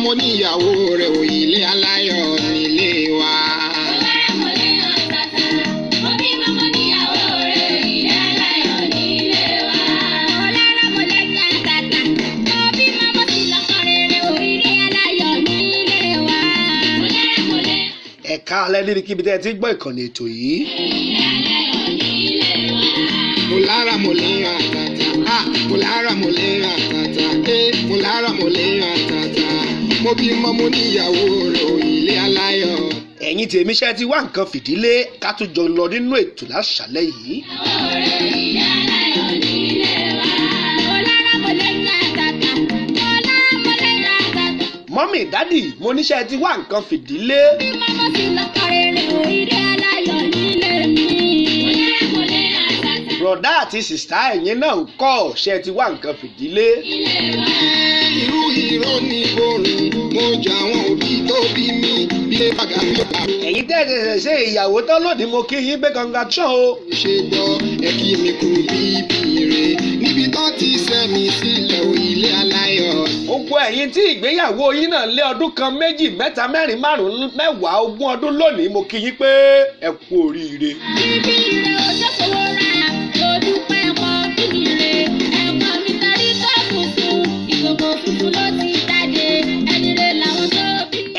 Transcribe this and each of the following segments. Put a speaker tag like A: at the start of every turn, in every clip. A: mo níyàwó rẹ̀ ò ilé aláyọ̀ nílé wa.
B: ẹ̀ka alẹ́ níbi kíbi tẹ́ ẹ ti ń gbọ́ ìkànnì ètò yìí.
A: mo lára mo lè ràn tàtà ah mo lára mo lè ràn tàtà eh mo lára mo lè ràn tàtà mo bímọ mo níyàwó rẹ̀ ò ilé aláyọ̀.
B: ẹ̀yin tèmi ṣe ti wá nǹkan fìdílé ká tún jọ lọ nínú ètò láṣàlẹ̀ yìí. mọ́mì dádì mo níṣẹ́ ti wá nǹkan fìdílé. bùrọ̀dá àti sìstá ẹ̀yin náà ń kọ́ ṣe ti wá nǹkan fìdílé.
A: irú ìró ni borun mo jọ àwọn òbí tó bí mi bí ẹ bàgà mi bá
B: ẹ̀yin tẹ́ ẹ ṣẹ̀ṣẹ̀ ṣe ìyàwó tán lónìí mo kí yín pé congratulation o.
A: ṣe gbọ́ ẹ kí mi kú bíbí rẹ̀ níbi tó ti sẹ́mi sílẹ̀ ò ilé aláyọ̀.
B: gbogbo ẹ̀yin tí ìgbéyàwó yín náà lé ọdún kan méjì mẹ́ta mẹ́rin márùn-ún mẹ́wàá ogún ọdún lónìí mo kí yín pé ẹ kú oríire.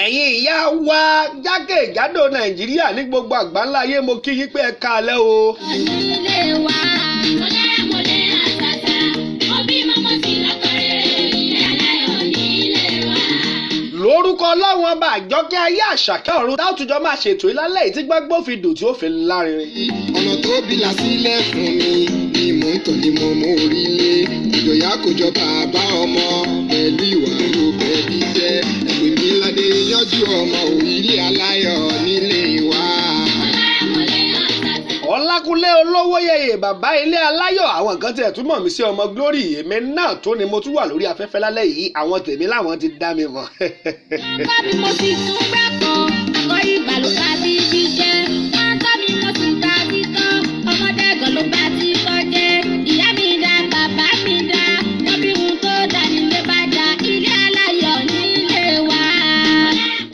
B: ẹ̀yin ìyá wa jákèjádò nàìjíríà ní gbogbo àgbáńlá ayé mo kí yín pé ẹ káalẹ́ o. lórúkọ ọlọ́run ọba àjọkẹ́ ayé àṣàkẹ́ ọ̀run táwùjọ máa ṣètò ìlàlẹ́ yìí tí gbọ́ngbọ́n fi dùn tí ó fi lárinrin.
A: ọ̀nà tó bìlà sílẹ̀ fún mi ni mò ń tọ̀ ni mo mú orí lé ìjọyà kò jọ bàbá ọmọ pẹ̀lú ìwà ló bẹ̀bí jẹ́ ẹ̀pẹ̀ mi ládé yanjú ọmọ òyìnlé aláyọ̀ nílé wa.
B: ọlákúnlé olówóyeye bàbá ilé aláyọ̀ àwọn nǹkan tiẹ̀ túmọ̀ mí sí ọmọ glory èmi náà tó ni mo tún wà lórí afẹ́fẹ́ lálẹ́ yìí àwọn tèmi láwọn ti dá mi mọ̀.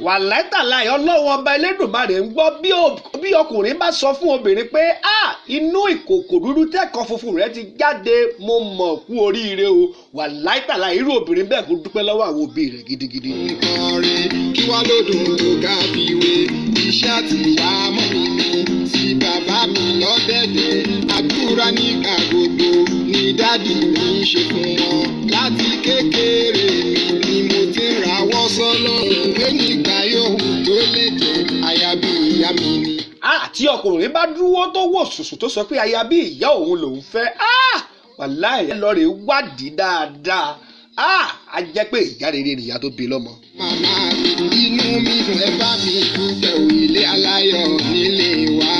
B: wà látàláì ọlọ́wọ́ ọba elédùnmarè ń gbọ́ bí o- bí ọkùnrin bá sọ fún obìnrin pé a inú ìkòkò dúdú tẹ́kọ̀ funfun rẹ ti jáde mo mọ̀ kú oríire o wà látàláì irú obìnrin bẹ́ẹ̀ kó dúpẹ́ lọ́wọ́ àwọn òbí rẹ̀ gidigidi.
A: nǹkan rí kí wá lódùn tó ká fi wé iṣẹ́ àtìwá mọ́mí mi sí bàbá mi lọ́dẹ̀dẹ̀ àdúrà nígbà gbogbo ni dádì mi ń ṣe fún wọn láti kékeré mi ni mo ti ń rawọ́ sọ́lọ́run pé nígbà yòówù tó lè jẹ́ àyàbí ìyá mi ni.
B: àti Ah, ọkùnrin bá dúró tó wò sùsù tó sọ pé aya bí ìyá òun lòún fẹ́ Ah! wàláì ẹ lọ rè wádìí dáadáa Ah! á jẹ́ pé ìyá rere nìyá tó bí lọ́mọ.
A: màmá mi inú mi dùn ẹ bá mi dúpẹ́ òyìnlé aláyọ̀ nílé wa.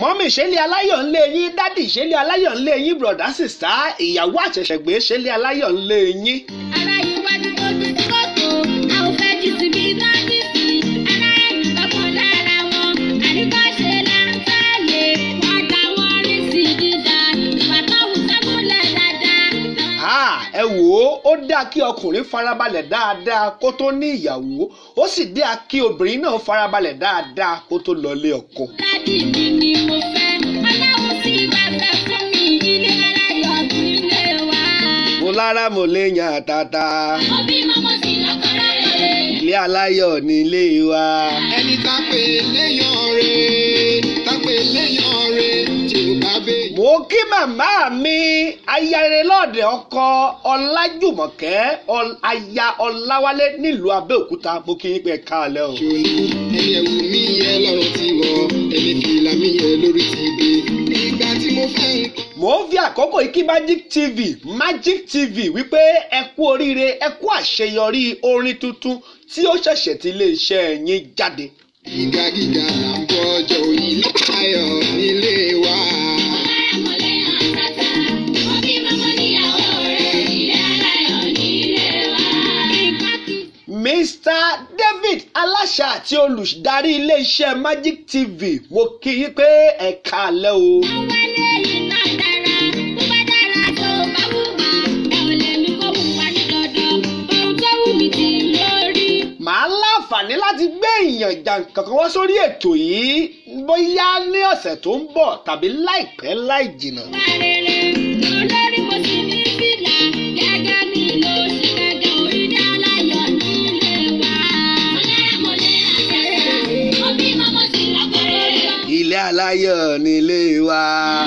B: mọ́mì ṣẹlẹ̀ aláyọ̀ ńlẹ̀ yín dádì ṣẹlẹ̀ aláyọ̀ ńlẹ̀ yín bùrọ̀dá sìstá ìyàwó àṣẹ̀ṣẹ̀gbé ṣẹlẹ̀ aláyọ̀ ńlẹ̀ yín. Ah, ẹ wò ó ó dáa kí ọkùnrin farabalẹ̀ dáadáa kó tó ní ìyàwó ó sì dáa kí obìnrin náà farabalẹ̀ dáadáa kó tó lọlé ọkọ.
C: Dádì mi ni mo fẹ́, aláwọ̀ sí bàbá fún mi, ilé aláyọ̀ nílé wa.
B: mo lára mo lè yan àtàtà
C: Mo bímọ mo sì lọ́kọ rere.
B: ilé aláyọ̀ nílé wa.
A: ẹni tá pé léyàn re tá pé léyàn re tí ò bá bẹ́ẹ̀.
B: mo kí màmá mi ayarelọ́ọ̀dẹ ọkọ ọlájùmọ̀kẹ́ Ọl- aya ọláwálé nílùú abẹ́òkúta mo kí yín pé ẹ káalẹ́ o.
A: ṣòní ẹni ẹ̀wù mi yẹ lọ́rùn ti wọ̀ ẹni fìlà mi yẹ lórí ti dé. nígbà tí mo fẹ́ ń kọ́
B: mò ń fi àkókò yìí kí magic tv magic tv wípé ẹ kú oríire ẹ kú àṣeyọrí orin tuntun tí ó ṣẹ̀ṣẹ̀ ti iléeṣẹ́ yín jáde.
A: gíga gíga là ń bọ́ ọjọ́ òyìnlá ayọ̀ nílé wa.
B: mr david aláṣà àti olùdarí iléeṣẹ́ magic tv mo kí yín pé ẹ káalẹ́ o.
C: Thank you.
B: àǹfààní láti gbé èèyàn jàǹkànkàn wá sórí ètò yìí bóyá ní ọ̀sẹ̀ tó ń bọ̀ tàbí láìpẹ́ láì jìnnà. ilé aláyọ̀ nílé wa.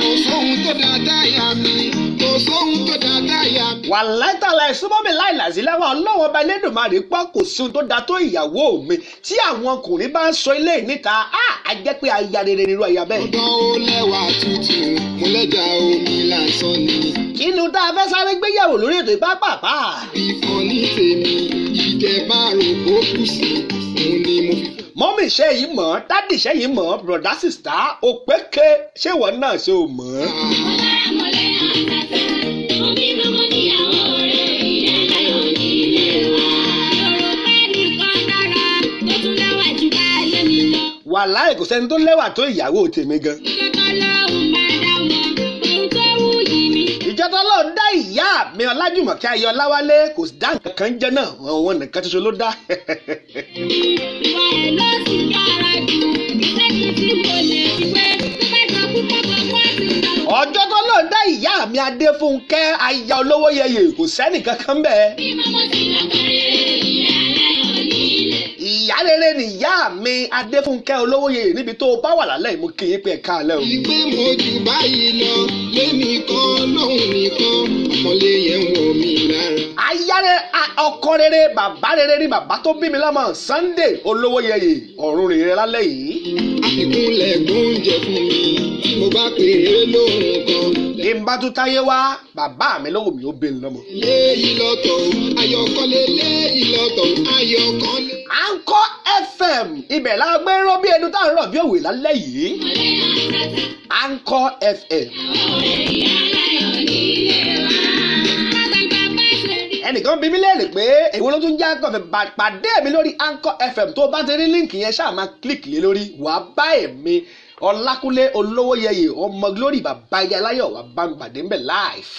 A: kò sóhun tó dáadáa yà mí kò sóhun tó dáadáa yà mí.
B: wàláì tàlà ìsúnmọ́ mi láì làzí lẹ́wọ̀n ọlọ́wọ́n ọba elédùnmarè pọ̀ kò sí ohun tó da tó ìyàwó mi tí àwọn ọkùnrin bá ń sọ ilé níta á á jẹ́ pé aya rere nínú ẹ̀yà bẹ́ẹ̀.
A: ọ̀dọ́ ó lẹ́wà tútù mo lẹ́jà omi lásán ni.
B: kí ni tá a fẹ́ sáré gbéyàwó lórí ètò ìpápàpá.
A: ìfọ̀ ní tèmi ìjẹ́ márùn-ún kó kù sí òun ni mo fi.
B: mọ́mì iṣẹ́ yìí mọ̀ dádì iṣẹ́ yìí mọ̀ bùrọ̀dá sìstá òpèké ṣé ìwọ náà ṣe ò mọ̀. wàláì kò sẹ́ni tó lẹ́wà tó ìyàwó tèmi gan. ìjọ tó lọ dá ìyá mi ọlájùmọ̀kẹ́ ayọ̀ láwálé kò dá nǹkan kan jẹ́ náà àwọn nìkan ṣoṣo ló dá. ọjọ́ tó lọ dá ìyá mi adéfúnkẹ́ aya olówó yẹyẹ kò sẹ́ni kankan bẹ́ẹ̀. ìyá rere nìyá mi adéfúnkẹ́ olówó yẹyẹ níbi tó o bá wà lálẹ́ mo kì í pé ẹ̀ka alẹ́ o.
A: ìgbé mo jù báyìí lọ lémi kan lóhùn nìkan ọmọlé yẹn wọ mí lára.
B: ayáre ọkọ rere bàbá rere ni bàbá tó bí mi lọ́mọ Sunday olówó yẹyẹ ọ̀run rere lálẹ́ yìí.
A: àfikúnlẹ̀ gbóúnjẹ fún mi mo bá pèrè lóhùn kan.
B: ní n bá tún táyé wá bàbá mi lọ́wọ́ mi ó bẹ lọ́mọ.
A: léyìí lọ́tọ̀ o ayọ̀kọ́lé léyìí lọ́tọ̀ o ayọ̀kọ́lé.
B: à ń kọ́ FM ibẹ̀ la gbé rán bí ẹnu tá à ń rọ̀ bí òwe lálẹ́ yìí. à ń kọ́ FM ẹnìkan bí mi léèrè pé èwo ló tún já kọfẹ bá- pàdé mi lórí Anchor FM tó o bá ti rí líǹkì yẹn ṣáà máa kílìkì lé lórí wàá bá èmi Ọlákúnlé olówó yẹyẹ ọmọ glory bàbá ayé aláyọ̀ wàá bá mi pàdé ń bẹ̀ live.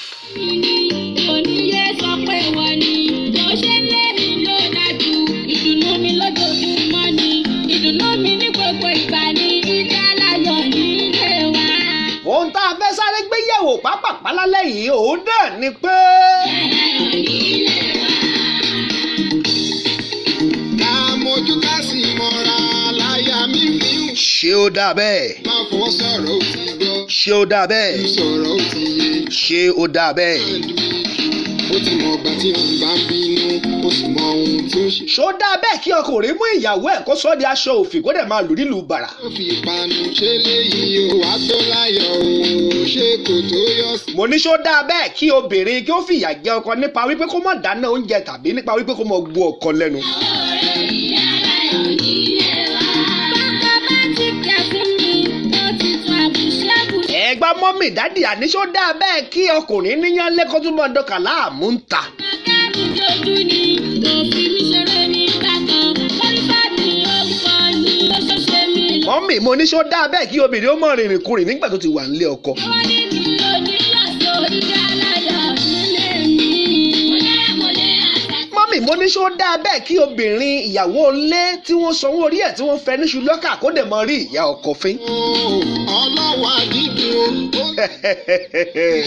C: Ìdùnnú mi ní gbogbo ìgbà ni ilé aláyọ̀ nílé wa.
B: ohun tá a fẹ́ sáré gbé yẹ̀wò pápápá lálẹ́ yìí òun náà ni pé
A: ká mojú ká sì mọ́ra láyà mi fi ń
B: ṣé ó dáa bẹ́ẹ̀
A: máa fọ́ sọ̀rọ̀ ó ti gbọ́
B: ṣé ó dáa bẹ́ẹ̀
A: jù sọ̀rọ̀ ó ti yé.
B: ṣé ó dáa bẹ́ẹ̀.
A: ó ti mọ ọgbà tí òun bá ń bínú ó sì mọ ohun tí ó ṣe.
B: ṣé ó dáa bẹ́ẹ̀ kí ọkùnrin mú ìyàwó ẹ̀ kó sọ ọ́ di aṣọ òfì kó dẹ̀ máa lù nílùú bàrà.
A: ó fi ìpanu ṣe léyìí o wá tó láyọ̀ o ṣé kò tó yọ sí.
B: mo ní ṣé ó dáa bẹ́ẹ̀ kí obìnrin kí ó fìyà jẹ ọkọ nípa wípé kó mọ̀ dáná oúnjẹ tàbí nípa wípé kó mọ̀ gbu ọkọ lẹ́nu. ẹ̀gbá mọ́mì dádì àní ṣó dáa bẹ́ẹ̀ kí ọkùnrin níyàn lẹ́kọ́ túnbọ̀ dọ́kà láàmú ń ta. mọ́mì mo ní ṣó dáa bẹ́ẹ̀ kí obìnrin ó mọ̀ rìnrìn kurìn nígbà tó ti wà nílé ọkọ. mọ́mì mo ní ṣó dáa bẹ́ẹ̀ kí obìnrin ìyàwó ilé tí wọ́n sanwó orí ẹ̀ tí wọ́n fẹ́ níṣu lọ́kà kó dẹ̀ mọ rí ìyá ọkọ fín.
A: o ọlọ́wọ́ àdídùn o ó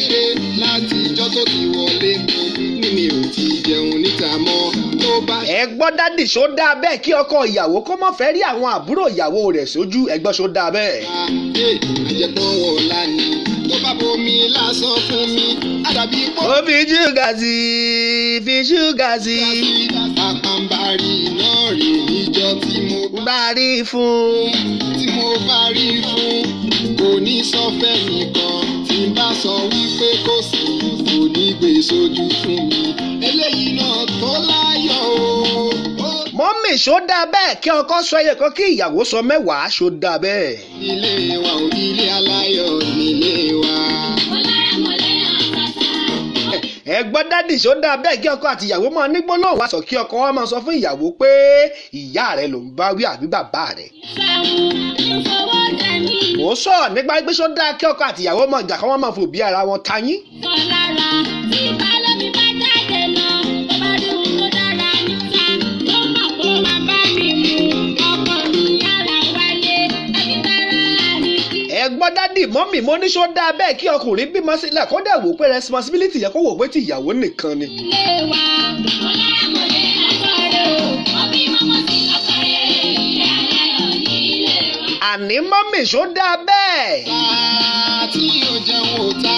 A: ṣe láti ìjọ́ tó ti wọlé mi ni mi ò ti jẹun níta mọ́ tó bá ṣe
B: ẹ gbọ́ dádì ṣó dáa bẹ́ẹ̀ kí ọkọ ìyàwó kó mọ̀ fẹ́ rí àwọn àbúrò ìyàwó rẹ̀ sójú ẹgbẹ́ ṣó dáa bẹ́ẹ̀.
A: àjẹpọ̀ wọ̀ọ́lá ni tó bá bomi lásán fún mi àdàbí pọ́.
B: ó fi ṣúgà sí i fi ṣúgà sí i
A: àpàǹbarì náà rè níjọ́ tí mo bá
B: bá a rí i fún.
A: tí mo bá rí i fún kò ní sọ fẹ́ nìkan tí n bá sọ wípé kò sí kò ní gbé sójú fún mi eléyìí náà tó láyọ̀ o. ó
B: mọ́mì ṣó dáa bẹ́ẹ̀ kí ọkọ sọ iye kan kí ìyàwó sọ mẹ́wàá ṣó dáa bẹ́ẹ̀.
A: ilé wa ò ilé aláyọ̀ nílé wa.
B: ẹ gbọ́ dádì ṣó dáa bẹ́ẹ̀ kí ọkọ àti ìyàwó máa ní gbólóhùn wàásù kí ọkọ wa máa sọ fún ìyàwó pé ìyá rẹ ló ń bá wí àbí bàbá rẹ. mo sọ nípa pé ṣó dáa kí ọkọ àti ìyàwó máa jà kí wọ́n máa fò bí ara wọn tayín.
C: Bàbá mi mú.
B: mọ́mì mo ní ṣó dáa bẹ́ẹ̀ kí ọkùnrin bímọ sílẹ̀ kó dẹ̀ wò pé responsibility yẹ kó wò pé ti ìyàwó nìkan ni. àní mọ́mì ṣó dáa bẹ́ẹ̀.
A: Tí o jẹun ò ta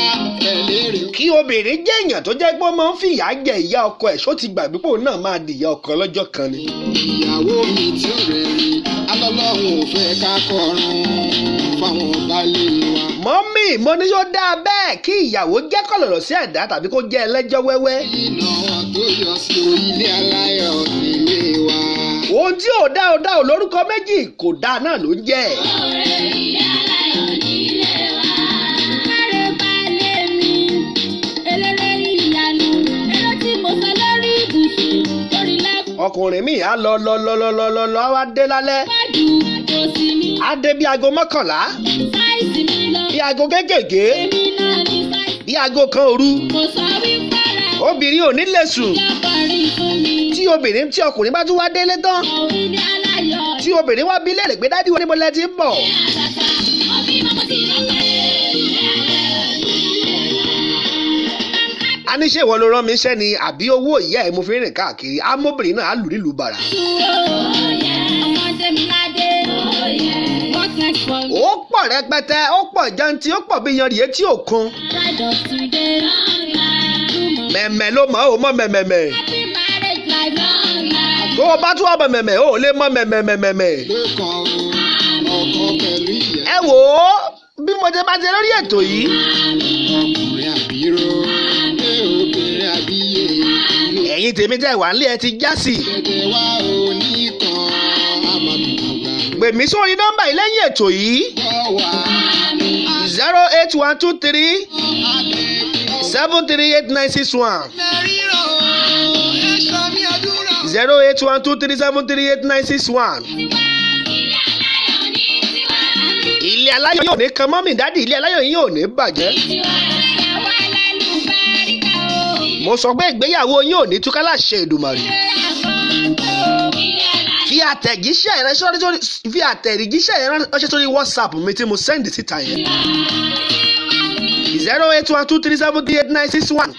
A: ẹlẹ́rìí.
B: kí obìnrin jẹ́ èèyàn tó jẹ́ pé ó máa ń fìyà jẹ ìyá ọkọ ẹ̀ ṣó ti gbàgbé pé òun náà máa di ìyá ọkọ lọ́jọ́ kan ni.
A: Ìyàwó mi tí ó rẹ̀ rí alọ́lọ́run ò fẹ́ ká kọrun fáwọn baálé wa.
B: mọ́mì mo ní ṣó dáa bẹ́ẹ̀ kí ìyàwó jẹ́ kọ̀lọ̀lọ̀ sí ẹ̀dá tàbí kó jẹ́ ẹlẹ́jọ́ wẹ́wẹ́.
A: Ìnáwó tó yọ sí ilé aláyọ̀ nílé wa.
B: ohun tí ò dá ò dá ò lórúkọ méjì kò dáa náà ló ń jẹ́. ọkùnrin mi á lọ lọ lọ lọ lọ lọ lọ á wá dé lálẹ́ á dé bí aago mọ́kànlá bí aago kékèké bí aago kan òru obìnrin ò ní lè sùn tí obìnrin tí ọkùnrin bá tún wá délé tán tí obìnrin wá bí léèrè pé dádì wọn níbo lẹ ti ń bọ̀ a ní ṣe ìwọ ló rán mi iṣẹ́ ni àbí owó ìyá ẹ̀ mo fi ń rìn káàkiri amóbìnrin náà á lù nílùú bàrà ó pọ̀ rẹpẹtẹ ó pọ̀ jantí ó pọ̀ bí yanrìí etí òkun mẹ̀mẹ̀ ló mọ̀ ó mọ̀ mẹ̀mẹ̀mẹ̀ tó o bá tún ọmọ mẹ̀mẹ̀ ó lè mọ̀ mẹ̀mẹ̀mẹ̀mẹ̀
A: Lẹ́kọ̀ọ́ ọkọ pẹ̀lú ìyá
B: ẹ wò ó bí mo ti bá ti lórí ètò yìí
A: ọkùnrin àbíró. Ṣé obìnrin àbíyè inú
B: ẹ̀yin tèmi tẹ̀ wá nílé ẹ ti já sí i
A: tẹ̀tẹ̀ wá oníkan amàdùnmọ̀gbà
B: pè mí sórí nọ́mbà yìí lẹ́yìn ètò yìí
A: gbọ́ wá.
B: zero eight one two three
A: Adékun
B: seven three eight nine six one
A: ọ̀nà ríro ẹ̀ṣọ́ mi àdúrà.
B: zero eight one two three seven three eight nine six one. ilé aláyọ̀ yóò ní kan mọ́mì dádì ilé aláyọ̀ yìí yóò ní bàjẹ́. mo sọ pé ìgbéyàwó yín ò ní túká láṣẹ Èdùmàrè. fi àtẹ̀jíṣẹ́ rẹ sórí sórí fi àtẹ̀jíṣẹ́ rẹ ránṣẹ́ sórí whatsapp mi tí mo sẹ́ndì síta yẹn. zero eight one two three seven three eight nine six one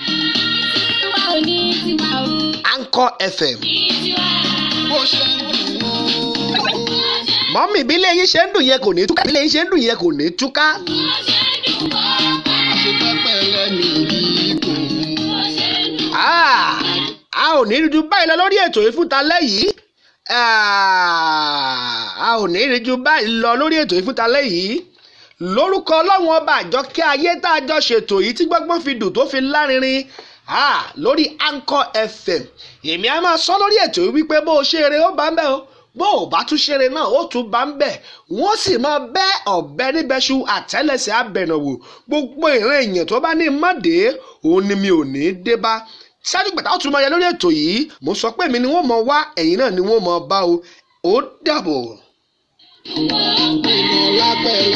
B: anchor fm.
A: bó ṣe ń dùn ó.
B: mọ́mì bí ilé yín ṣe ń dùn yẹn kò ní túká bí ilé yín ṣe ń dùn yẹn kò ní túká.
A: àṣepẹ́pẹ́ lẹ́nu yìí kò mú.
B: Ah, a ò ní rí ju báyìí lọ lórí ètò yìí fún talẹ́ yìí Ah, a ò ní rí ju báyìí lọ lórí ètò yìí fún talẹ́ yìí lórúkọ ọlọ́run ọba àjọkẹ́ ayé tá a jọ ṣètò yìí tí gbọ́ngbọ́n fi dùn tó fi lárinrin Ah, lórí Anchor FM èmi á máa sọ lórí ètò yìí wípé bó o ṣe eré ó bá ń bẹ̀ o bó o bá tún ṣeré náà ó tún bá ń bẹ̀ wọ́n sì máa bẹ́ ọ̀bẹ níbẹ̀ṣu àtẹ́lẹsẹ̀ abẹ̀nàwò gbogbo ìran èèyàn tó bá ní mọ́dé òun ni mi ò ní í dé bá ṣáájú gbàtà ó tún máa yẹ lórí ètò yìí mo sọ pé èmi ni wọ́n mọ wá ẹ̀yin náà ni wọ́n mọ bá o ó dàbọ̀.
A: ìmọ̀lápẹ̀